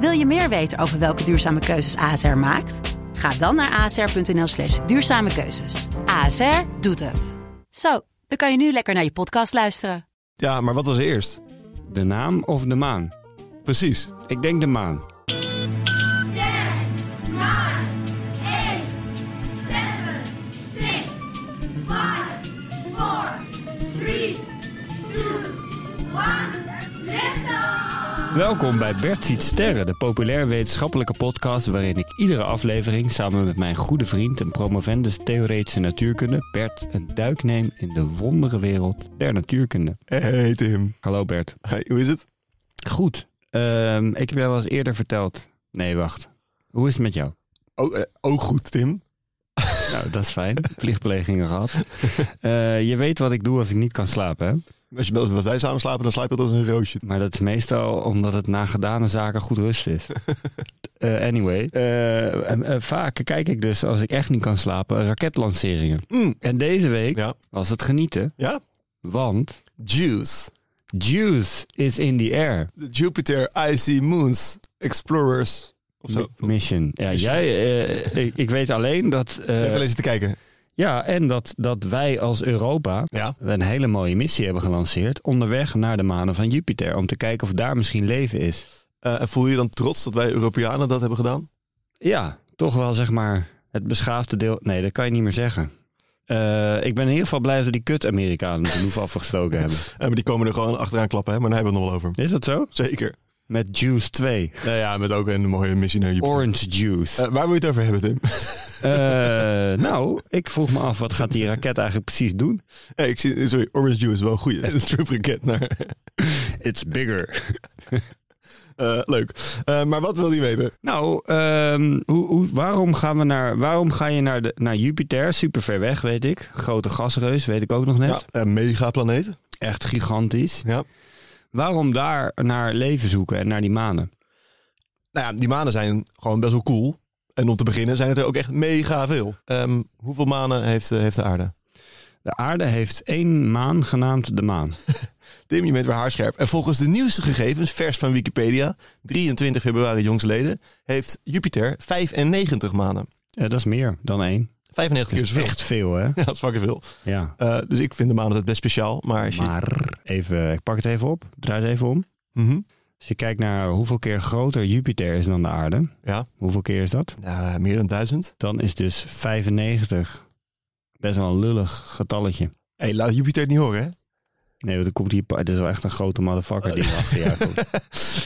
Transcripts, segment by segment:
Wil je meer weten over welke duurzame keuzes ASR maakt? Ga dan naar asr.nl slash duurzame keuzes. ASR doet het. Zo, dan kan je nu lekker naar je podcast luisteren. Ja, maar wat was eerst? De naam of de maan? Precies. Ik denk de maan. 10, 9, 8, 7, 6, 5, 4, 3, 2, 1. Lift off! Welkom bij Bert ziet sterren, de populair wetenschappelijke podcast waarin ik iedere aflevering samen met mijn goede vriend en promovendus theoretische natuurkunde Bert een duik neem in de wonderenwereld der natuurkunde. Hey Tim. Hallo Bert. Hey, hoe is het? Goed. Ehm, ik heb jou wel eens eerder verteld. Nee, wacht. Hoe is het met jou? Oh, eh, ook goed, Tim. Nou, dat is fijn. Plichtplegingen gehad. Eh, je weet wat ik doe als ik niet kan slapen, hè? Als je belt wat wij samen slapen, dan slaap je als een roosje. Maar dat is meestal omdat het na gedane zaken goed rust is. Eh, anyway, eh, en, eh, vaak kijk ik dus als ik echt niet kan slapen raketlanceringen. Mm. En deze week Ja. was het genieten, Ja? want Juice. juice is in the air. De Jupiter Icy Moons Explorers. Of zo. Mi- Mission. Ja, Mission. Jij, eh, ik, ik weet alleen dat. eh, Even lezen te kijken. ja, en dat, dat wij als Europa Ja. een hele mooie missie hebben gelanceerd onderweg naar de manen van Jupiter om te kijken of daar misschien leven is. Eh, en voel je dan trots dat wij Europeanen dat hebben gedaan? Ja, toch wel zeg maar het beschaafde deel. Nee, dat kan je niet meer zeggen. Eh, ik ben in ieder geval blij dat we die kut-Amerikanen met de loef afgestoken hebben. Eh, maar die komen er gewoon achteraan klappen, hè? maar daar hebben we het nog wel over. Is dat zo? Zeker. Met Juice 2. Nou ja, met ook een mooie missie naar Jupiter. Orange Juice. Eh, waar wil je het over hebben, Tim? Eh, nou, ik vroeg me af, wat gaat die raket eigenlijk precies doen? Eh, ik zie, sorry, Orange Juice is wel een goede. Het is een raket naar. It's bigger. Eh, leuk. Eh, maar wat wil die weten? Nou, ehm, hoe, hoe, waarom, gaan we naar, waarom ga je naar, de, naar Jupiter? Super ver weg, weet ik. Grote gasreus, weet ik ook nog net. Ja, eh, megaplaneet. Echt gigantisch. Ja. Waarom daar naar leven zoeken en naar die manen? Nou ja, die manen zijn gewoon best wel cool. En om te beginnen zijn het er ook echt mega veel. Ehm, hoeveel manen heeft, eh, heeft de aarde? De aarde heeft één maan genaamd de maan. Tim, je bent weer haarscherp. En volgens de nieuwste gegevens, vers van Wikipedia, 23 februari jongstleden, heeft Jupiter 95 manen. Eh, dat is meer dan één. 95 Dat keer is zoveel. echt veel, hè? Ja, dat is fucking veel. Ja. Eh, dus ik vind de manen altijd best speciaal. Maar, als je- Maar even, ik pak het even op, draai het even om. Mhm. Als je kijkt naar hoeveel keer groter Jupiter is dan de aarde, Ja, hoeveel keer is dat? nou, meer dan 1000. Dan is dus 95 best wel een lullig getalletje. Hé, hey, laat Jupiter het niet horen, hè? Nee, want er komt hier, pa- dit is wel echt een grote motherfucker die achter je aankomt.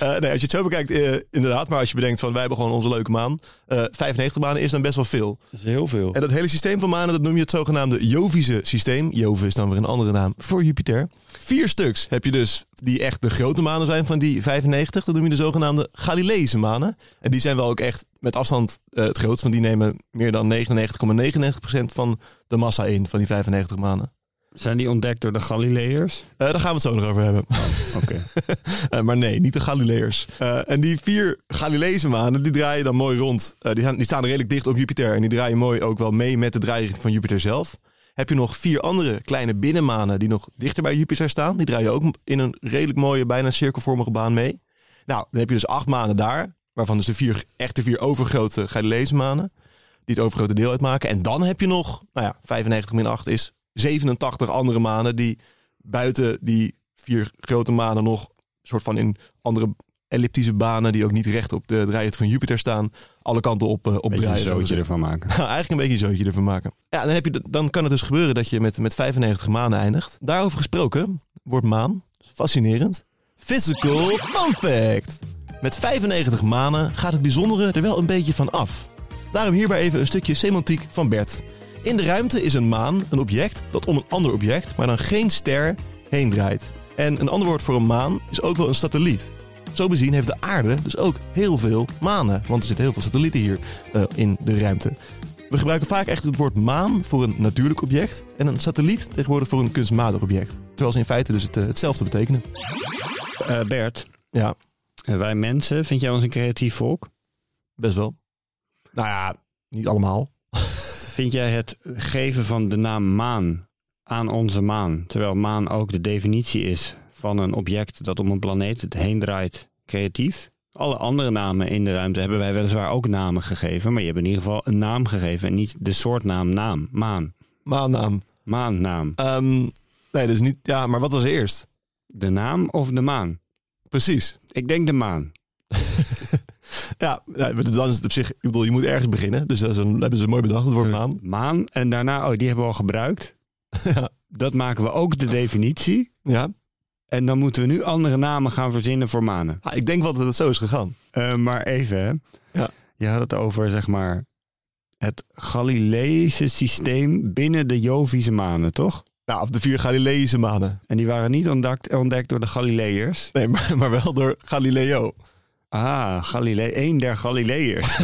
Eh, nee, als je het zo bekijkt, eh, inderdaad. Maar als je bedenkt van wij hebben gewoon onze leuke maan. eh 95 manen is dan best wel veel. Dat is heel veel. En dat hele systeem van manen, dat noem je het zogenaamde Jovische systeem. Jove is dan weer een andere naam voor Jupiter. Vier stuks heb je dus die echt de grote manen zijn van die 95. Dat noem je de zogenaamde Galileese manen. En die zijn wel ook echt met afstand eh, het grootst. Want die nemen meer dan 99,99% van de massa in van die 95 manen. Zijn die ontdekt door de Galileërs? Eh, daar gaan we het zo nog over hebben. Oké. Eh, maar nee, niet de Galileërs. Eh, en die vier Galileese manen, die draaien dan mooi rond. Eh, die, gaan- die staan redelijk dicht op Jupiter. En die draaien mooi ook wel mee met de draairichting van Jupiter zelf. Heb je nog vier andere kleine binnenmanen die nog dichter bij Jupiter staan. Die draaien ook in een redelijk mooie, bijna cirkelvormige baan mee. Nou, dan heb je dus acht manen daar. Waarvan dus de vier, echte vier overgrote Galileese manen. Die het overgrote deel uitmaken. En dan heb je nog, nou ja, 95 min 8 is 87 andere manen die buiten die vier grote manen nog soort van in andere elliptische banen die ook niet recht op de draaiheid van Jupiter staan. Alle kanten op, eh, op Beetje een draaien. zo zootje gezegd. ervan maken. Nou, eigenlijk een beetje een zootje ervan maken. Ja, dan, heb je, de- dan kan het dus gebeuren dat je met, met 95 maanden eindigt. Daarover gesproken wordt maan, fascinerend, physical fun fact. Met 95 manen gaat het bijzondere er wel een beetje van af. Daarom hierbij even een stukje semantiek van Bert. In de ruimte is een maan een object dat om een ander object, maar dan geen ster, heen draait. En een ander woord voor een maan is ook wel een satelliet. Zo bezien heeft de aarde dus ook heel veel manen, want er zitten heel veel satellieten hier eh, in de ruimte. We gebruiken vaak echt het woord maan voor een natuurlijk object en een satelliet tegenwoordig voor een kunstmatig object. Terwijl ze in feite dus het, eh, hetzelfde betekenen. Eh, Bert, Ja, eh, wij mensen, vind jij ons een creatief volk? best wel. Nou ja, niet allemaal. Vind jij het geven van de naam maan aan onze maan, terwijl maan ook de definitie is van een object dat om een planeet heen draait, creatief? Alle andere namen in de ruimte hebben wij weliswaar ook namen gegeven, maar je hebt in ieder geval een naam gegeven en niet de soortnaam naam, maan, Maannaam. maannaam. Ehm, nee, dus niet. Ja, maar wat was er eerst? De naam of de maan? Precies. Ik denk de maan. Ja, nou, dan is het op zich. Ik bedoel, je moet ergens beginnen. Dus dat is een, hebben ze mooi bedacht, het woord maan. Maan en daarna, oh, die hebben we al gebruikt. Ja. Dat maken we ook de definitie. Ja. En dan moeten we nu andere namen gaan verzinnen voor manen. Ah, ik denk wel dat het zo is gegaan. Eh, maar even, hè. Ja. Je had het over, zeg maar, het Galileïsche systeem binnen de Jovische manen, toch? Nou, of de vier Galileïsche manen. En die waren niet ontdekt, ontdekt door de Galileërs. Nee, maar, maar wel door Galileo. Ah, Galilei, één der Galileërs.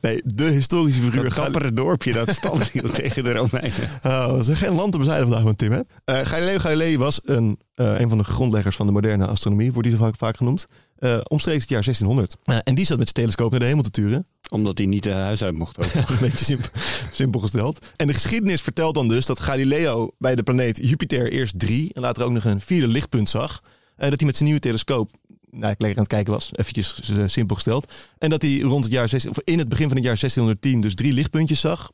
Nee, de historische figuur. Dat Gal- kappere dorpje dat stand hield tegen de Romeinen. Oh, er zijn geen land te bezijden vandaag met Tim, hè? Eh, Galileo Galilei was een, eh, een van de grondleggers van de moderne astronomie, wordt die zo vaak, vaak genoemd. Eh, omstreeks het jaar 1600. Eh, en die zat met zijn telescoop naar de hemel te turen. Omdat hij niet de huis uit mocht ook. Dat is een beetje simp- simpel gesteld. En de geschiedenis vertelt dan dus dat Galileo bij de planeet Jupiter eerst drie en later ook nog een vierde lichtpunt zag. Eh, dat hij met zijn nieuwe telescoop nou, ik lekker aan het kijken was, eventjes eh, simpel gesteld. En dat hij rond het jaar 16, of in het begin van het jaar 1610 dus drie lichtpuntjes zag.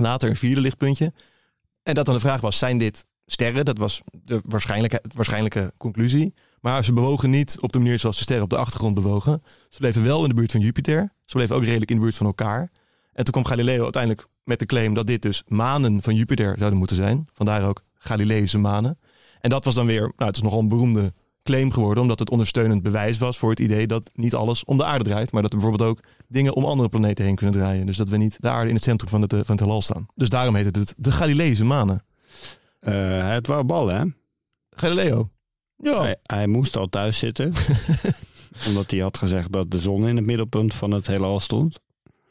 Later een vierde lichtpuntje. En dat dan de vraag was, zijn dit sterren? Dat was de waarschijnlijke, waarschijnlijke conclusie. Maar ze bewogen niet op de manier zoals de sterren op de achtergrond bewogen. Ze bleven wel in de buurt van Jupiter. Ze bleven ook redelijk in de buurt van elkaar. En toen kwam Galileo uiteindelijk met de claim dat dit dus manen van Jupiter zouden moeten zijn. Vandaar ook Galileïsche manen. En dat was dan weer, nou, het is nogal een beroemde claim geworden, omdat het ondersteunend bewijs was voor het idee dat niet alles om de aarde draait, maar dat er bijvoorbeeld ook dingen om andere planeten heen kunnen draaien. Dus dat we niet de aarde in het centrum van het, eh, van het heelal staan. Dus daarom heet het het de Galileïsche manen. Eh, het wou ballen, hè? Galileo. Ja. Hij, hij moest al thuis zitten. omdat hij had gezegd dat de zon in het middelpunt van het heelal stond.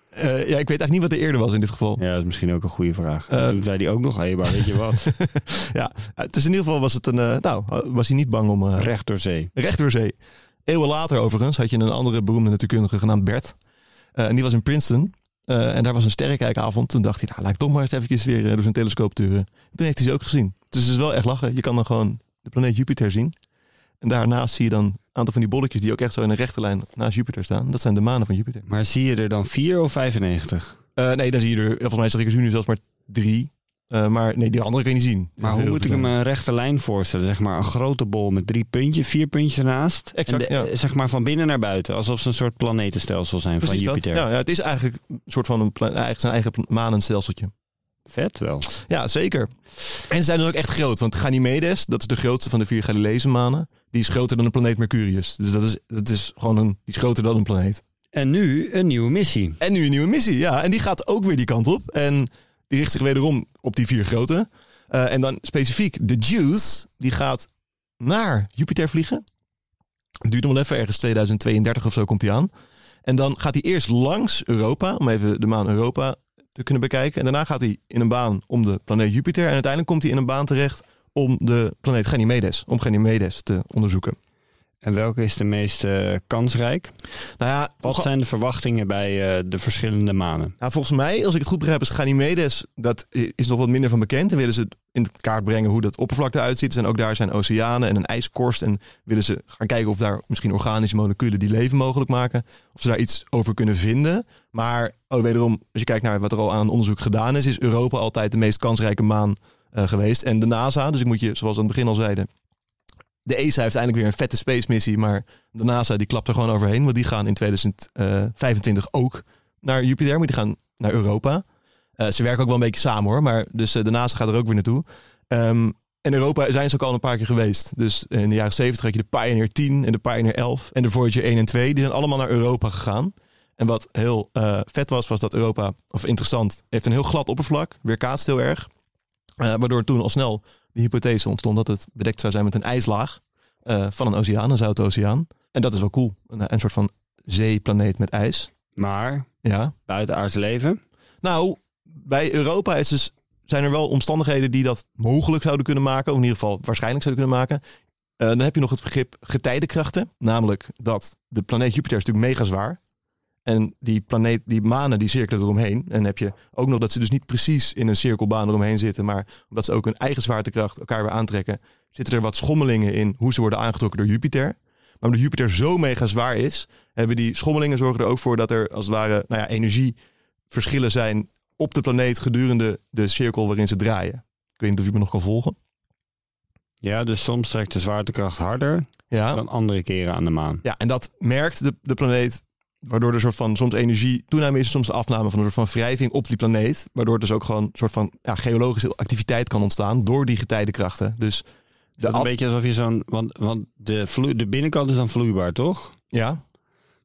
Eh, ja, ik weet eigenlijk niet wat er eerder was in dit geval. Ja, dat is misschien ook een goede vraag. Eh, En toen zei hij ook nog, hé, maar weet je wat? Ja, eh, dus in ieder geval was het een, eh, nou, was hij niet bang om eh, Recht door zee. Recht door zee. Eeuwen later overigens had je een andere beroemde natuurkundige genaamd Bert. Eh, en die was in Princeton. Eh, en daar was een sterrenkijkavond. Toen dacht hij, nou laat ik toch maar eens eventjes weer eh, door zijn telescoop turen. Toen heeft hij ze ook gezien. Dus het is wel echt lachen. Je kan dan gewoon de planeet Jupiter zien. En daarnaast zie je dan een aantal van die bolletjes die ook echt zo in een rechte lijn naast Jupiter staan. Dat zijn de manen van Jupiter. Maar zie je er dan 4 of 95? Eh, nee, dan zie je er, volgens mij zeg ik er nu zelfs maar drie. Eh, maar nee, die andere kan je niet zien. Maar hoe moet ik hem een rechte lijn voorstellen? Zeg maar een grote bol met drie puntjes, vier puntjes ernaast. Exact, en de- ja. Zeg maar van binnen naar buiten. Alsof ze een soort planetenstelsel zijn Precies eh, van dat. Jupiter. Ja, ja, het is eigenlijk een soort van een, pla- eigenlijk zijn eigen manenstelseltje. Vet wel. Ja, zeker. En ze zijn dan ook echt groot. Want Ganymedes, dat is de grootste van de vier Galileese manen. Die is groter dan de planeet Mercurius. Dus dat is, dat is gewoon een, die is groter dan een planeet. En nu een nieuwe missie. En nu een nieuwe missie, ja. En die gaat ook weer die kant op. En die richt zich wederom op die vier grote. Eh, en dan specifiek de Juice, die gaat naar Jupiter vliegen. Het duurt nog wel even, ergens 2032 of zo komt hij aan. En dan gaat hij eerst langs Europa, om even de maan Europa te kunnen bekijken. En daarna gaat hij in een baan om de planeet Jupiter. En uiteindelijk komt hij in een baan terecht om de planeet Ganymedes, om Ganymedes te onderzoeken. En welke is de meest eh, kansrijk? Nou ja, Wat onge- zijn de verwachtingen bij eh, de verschillende manen? Nou, volgens mij, als ik het goed begrijp, is Ganymedes, dat i- is nog wat minder van bekend. En willen ze in het kaart brengen hoe dat oppervlak eruit ziet. En ook daar zijn oceanen en een ijskorst. En willen ze gaan kijken of daar misschien organische moleculen die leven mogelijk maken. Of ze daar iets over kunnen vinden. Maar oh, wederom, als je kijkt naar wat er al aan onderzoek gedaan is, is Europa altijd de meest kansrijke maan eh, geweest. En de NASA, dus ik moet je, zoals we aan het begin al zeiden, De ESA heeft eindelijk weer een vette space missie, maar de NASA die klapt er gewoon overheen. Want die gaan in 2025 ook naar Jupiter, maar die gaan naar Europa. Eh, ze werken ook wel een beetje samen hoor, maar dus eh, de NASA gaat er ook weer naartoe. Ehm, en Europa zijn ze ook al een paar keer geweest. Dus in de jaren 70 had je de Pioneer 10 en de Pioneer 11 en de Voyager 1 en 2. Die zijn allemaal naar Europa gegaan. En wat heel eh, vet was, was dat Europa, of interessant, heeft een heel glad oppervlak, weerkaatst heel erg. Eh, waardoor toen al snel de hypothese ontstond dat het bedekt zou zijn met een ijslaag eh, van een oceaan, een zoute oceaan. En dat is wel cool. Een, een soort van zeeplaneet met ijs. Maar Ja. buitenaards leven. Nou, bij Europa is dus, zijn er wel omstandigheden die dat mogelijk zouden kunnen maken. Of in ieder geval waarschijnlijk zouden kunnen maken. Eh, dan heb je nog het begrip getijdenkrachten. Namelijk dat de planeet Jupiter is natuurlijk mega zwaar. En die, planeet, die manen die cirkelen eromheen. En heb je ook nog dat ze dus niet precies in een cirkelbaan eromheen zitten. Maar omdat ze ook hun eigen zwaartekracht elkaar weer aantrekken. Zitten er wat schommelingen in hoe ze worden aangetrokken door Jupiter. Maar omdat Jupiter zo mega zwaar is. Hebben die schommelingen zorgen er ook voor dat er als het ware nou ja, energie verschillen zijn op de planeet gedurende de cirkel waarin ze draaien. Ik weet niet of je me nog kan volgen. Ja, dus soms trekt de zwaartekracht harder Ja, dan andere keren aan de maan. ja en dat merkt de, de planeet, waardoor er soort van soms energie toename is, en soms de afname van een soort van wrijving op die planeet. Waardoor er dus ook gewoon een soort van ja, geologische activiteit kan ontstaan door die getijdenkrachten. Dus Is dat af- een beetje alsof je zo'n... Want, want de, vloe, de binnenkant is dan vloeibaar, toch? ja,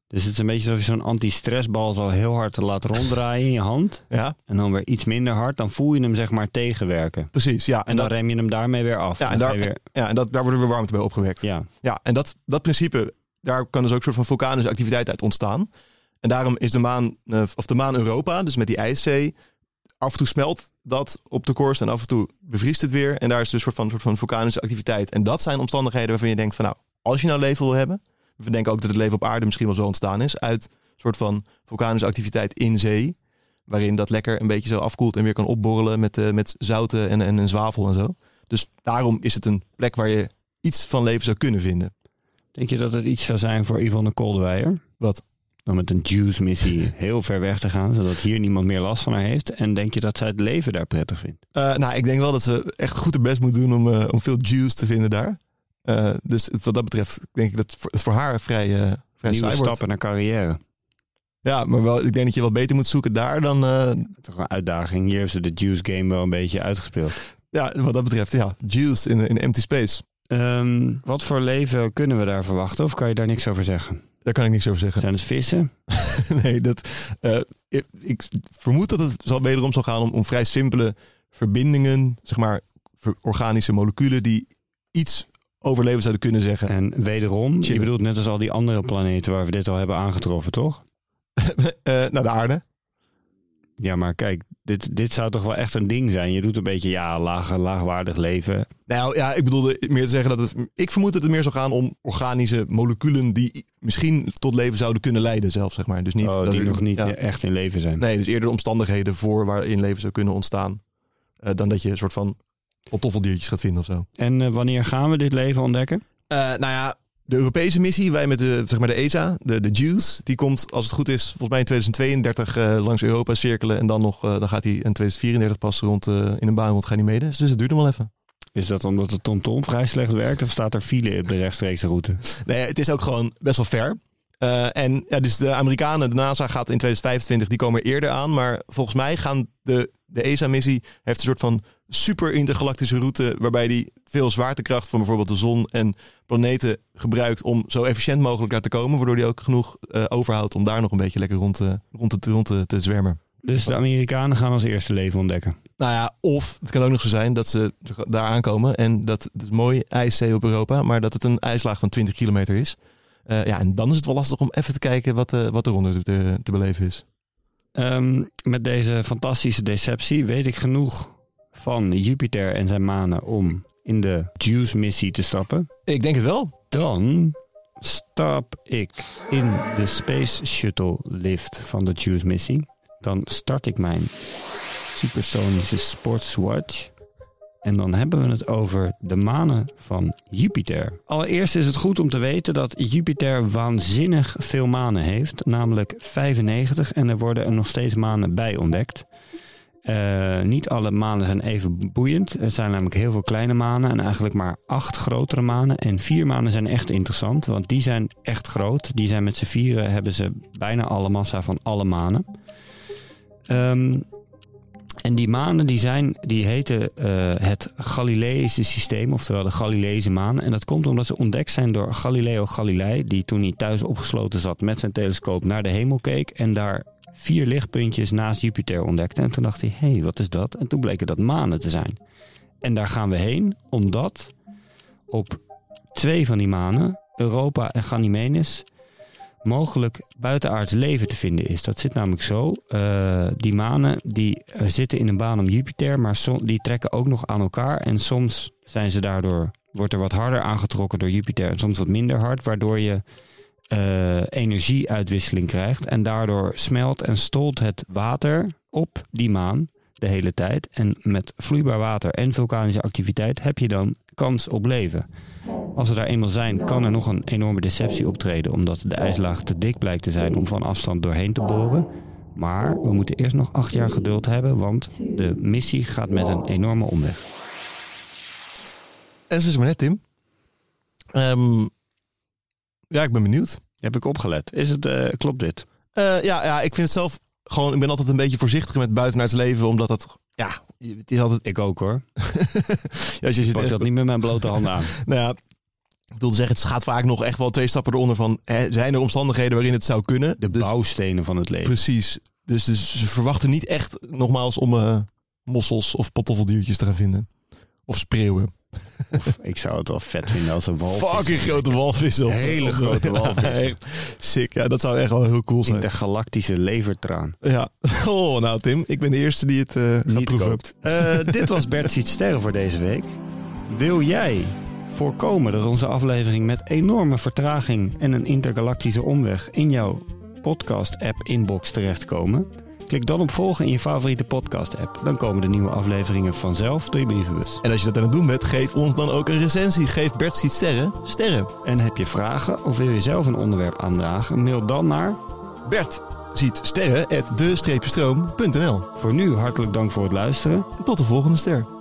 Dus het is een beetje alsof je zo'n anti-stressbal zo heel hard te laten ronddraaien in je hand. ja, En dan weer iets minder hard. Dan voel je hem zeg maar tegenwerken. En, precies. Ja, en, dan dat, rem je hem daarmee weer af. ja, en, Dan ga daar, je weer, ja, en dat, daar worden weer warmte bij opgewekt. ja. Ja, en dat, dat principe, daar kan dus ook een soort van vulkanische activiteit uit ontstaan. En daarom is de maan, eh, of de maan Europa, dus met die ijszee, af en toe smelt dat op de korst en af en toe bevriest het weer. En daar is dus een soort van, soort van vulkanische activiteit. En dat zijn omstandigheden waarvan je denkt van nou, als je nou leven wil hebben. We denken ook dat het leven op aarde misschien wel zo ontstaan is. Uit een soort van vulkanische activiteit in zee. Waarin dat lekker een beetje zo afkoelt en weer kan opborrelen met, eh, met zouten en, en, en zwavel en zo. Dus daarom is het een plek waar je iets van leven zou kunnen vinden. Denk je dat het iets zou zijn voor Yvonne Koldewijer? Wat? Om met een Juice-missie heel ver weg te gaan, zodat hier niemand meer last van haar heeft. En denk je dat zij het leven daar prettig vindt? Eh, nou, ik denk wel dat ze echt goed haar best moet doen om, eh, om veel juice te vinden daar. Eh, dus wat dat betreft denk ik dat het voor- het voor haar vrij, eh vrij Nieuwe saai wordt. stappen naar carrière. Ja, maar wel, ik denk dat je wel beter moet zoeken daar dan... eh, Toch een uitdaging. Hier hebben ze de Juice-game wel een beetje uitgespeeld. ja, wat dat betreft, ja, juice in, in empty space. Ehm, wat voor leven kunnen we daar verwachten? Of kan je daar niks over zeggen? Daar kan ik niks over zeggen. Zijn het vissen? nee, dat, eh, ik, ik vermoed dat het zal wederom zal gaan om, om vrij simpele verbindingen. Zeg maar ver- organische moleculen die iets over leven zouden kunnen zeggen. En wederom, je Chillen. bedoelt net als al die andere planeten waar we dit al hebben aangetroffen, toch? Eh, naar de aarde. Ja, maar kijk, dit, dit zou toch wel echt een ding zijn. Je doet een beetje, ja, laag, laagwaardig leven. Nou ja, ik bedoelde meer te zeggen dat het. Ik vermoed dat het meer zou gaan om organische moleculen die misschien tot leven zouden kunnen leiden, zelf zeg maar. Dus niet oh, dat die er- nog niet ja. echt in leven zijn. Nee, dus eerder omstandigheden voor waarin leven zou kunnen ontstaan. eh, dan dat je een soort van pantoffeldiertjes gaat vinden of zo. En eh, wanneer gaan we dit leven ontdekken? Eh, nou ja, de Europese missie, wij met de, zeg maar de ESA, de, de JUICE, die komt als het goed is volgens mij in 2032 eh, langs Europa cirkelen. En dan, nog, eh, dan gaat hij in 2034 pas rond, eh, in een baan rond gaan die mede. Dus het duurt nog wel even. Is dat omdat de TomTom vrij slecht werkt of staat er file op de rechtstreekse route? Nee, het is ook gewoon best wel ver. Eh, en ja, dus de Amerikanen, de NASA gaat in 2025, die komen eerder aan. Maar volgens mij gaan de, de ESA-missie heeft een soort van super intergalactische route. Waarbij die veel zwaartekracht van bijvoorbeeld de zon en planeten gebruikt om zo efficiënt mogelijk daar te komen. Waardoor die ook genoeg eh, overhoudt om daar nog een beetje lekker rond, te- rond, te, rond te, te zwermen. Dus de Amerikanen gaan als eerste leven ontdekken. Nou ja, of het kan ook nog zo zijn dat ze daar aankomen en dat het is mooi ijszee op Europa, maar dat het een ijslaag van 20 kilometer is. Eh, ja, en dan is het wel lastig om even te kijken wat, eh wat eronder te, te beleven is. Ehm, met deze fantastische deceptie weet ik genoeg van Jupiter en zijn manen om in de Juice-missie te stappen. Ik denk het wel. Dan stap ik in de Space Shuttle lift van de Juice-missie. Dan start ik mijn supersonische sportswatch. En dan hebben we het over de manen van Jupiter. Allereerst is het goed om te weten dat Jupiter waanzinnig veel manen heeft, namelijk 95, en er worden er nog steeds manen bij ontdekt. Eh, niet alle manen zijn even boeiend. Er zijn namelijk heel veel kleine manen en eigenlijk maar acht grotere manen. En vier manen zijn echt interessant, want die zijn echt groot. Die zijn met z'n vieren, hebben ze bijna alle massa van alle manen. Ehm, en die manen die zijn, die heten eh, het Galileïsche systeem, oftewel de Galileese maan. En dat komt omdat ze ontdekt zijn door Galileo Galilei, die toen hij thuis opgesloten zat met zijn telescoop naar de hemel keek en daar vier lichtpuntjes naast Jupiter ontdekte. En toen dacht hij, hé, hey, wat is dat? En toen bleken dat manen te zijn. En daar gaan we heen, omdat op twee van die manen, Europa en Ganymedes, mogelijk buitenaards leven te vinden is. Dat zit namelijk zo. eh, die manen die eh, zitten in een baan om Jupiter, maar som- die trekken ook nog aan elkaar. En soms zijn ze daardoor, wordt er wat harder aangetrokken door Jupiter en soms wat minder hard, waardoor je eh, energieuitwisseling krijgt. En daardoor smelt en stolt het water op die maan de hele tijd. En met vloeibaar water en vulkanische activiteit heb je dan kans op leven. Als we daar eenmaal zijn, kan er nog een enorme deceptie optreden, omdat de ijslaag te dik blijkt te zijn om van afstand doorheen te boren. Maar we moeten eerst nog acht jaar geduld hebben, want de missie gaat met een enorme omweg. En zo is het maar net, Tim. Ehm, ja, ik ben benieuwd. Heb ik opgelet? Is het, eh, klopt dit? Eh, ja, ja, ik vind het zelf gewoon... Ik ben altijd een beetje voorzichtig met buitenaards leven, omdat dat... Ja, het is altijd... Ik ook hoor. Ja, als je Ik zit pak echt, dat niet met mijn blote handen aan. nou ja, ik bedoel te zeggen, het gaat vaak nog echt wel twee stappen eronder van... Hè, zijn er omstandigheden waarin het zou kunnen? De Dus- bouwstenen van het leven. Precies. Dus, dus ze verwachten niet echt, nogmaals, om eh, mossels of pantoffeldiertjes te gaan vinden. Of spreeuwen. Of, ik zou het wel vet vinden als een walvis. Fucking grote walvissen. Hele grote walvissen. Ja, echt sick. Ja, dat zou echt wel heel cool zijn. Intergalactische levertraan. Ja. Oh, nou Tim, ik ben de eerste die het eh, gaat Niet proeven. koopt. Eh, dit was Bert ziet sterren voor deze week. Wil jij voorkomen dat onze aflevering met enorme vertraging en een intergalactische omweg in jouw podcast-app inbox terechtkomen? Klik dan op volgen in je favoriete podcast-app. Dan komen de nieuwe afleveringen vanzelf door je brievenbus. En als je dat aan het doen bent, geef ons dan ook een recensie. Geef Bert Ziet Sterren sterren. En heb je vragen of wil je zelf een onderwerp aandragen? Mail dan naar. Bert ziet sterren at de-stroom.nl Voor nu hartelijk dank voor het luisteren. Tot de volgende ster.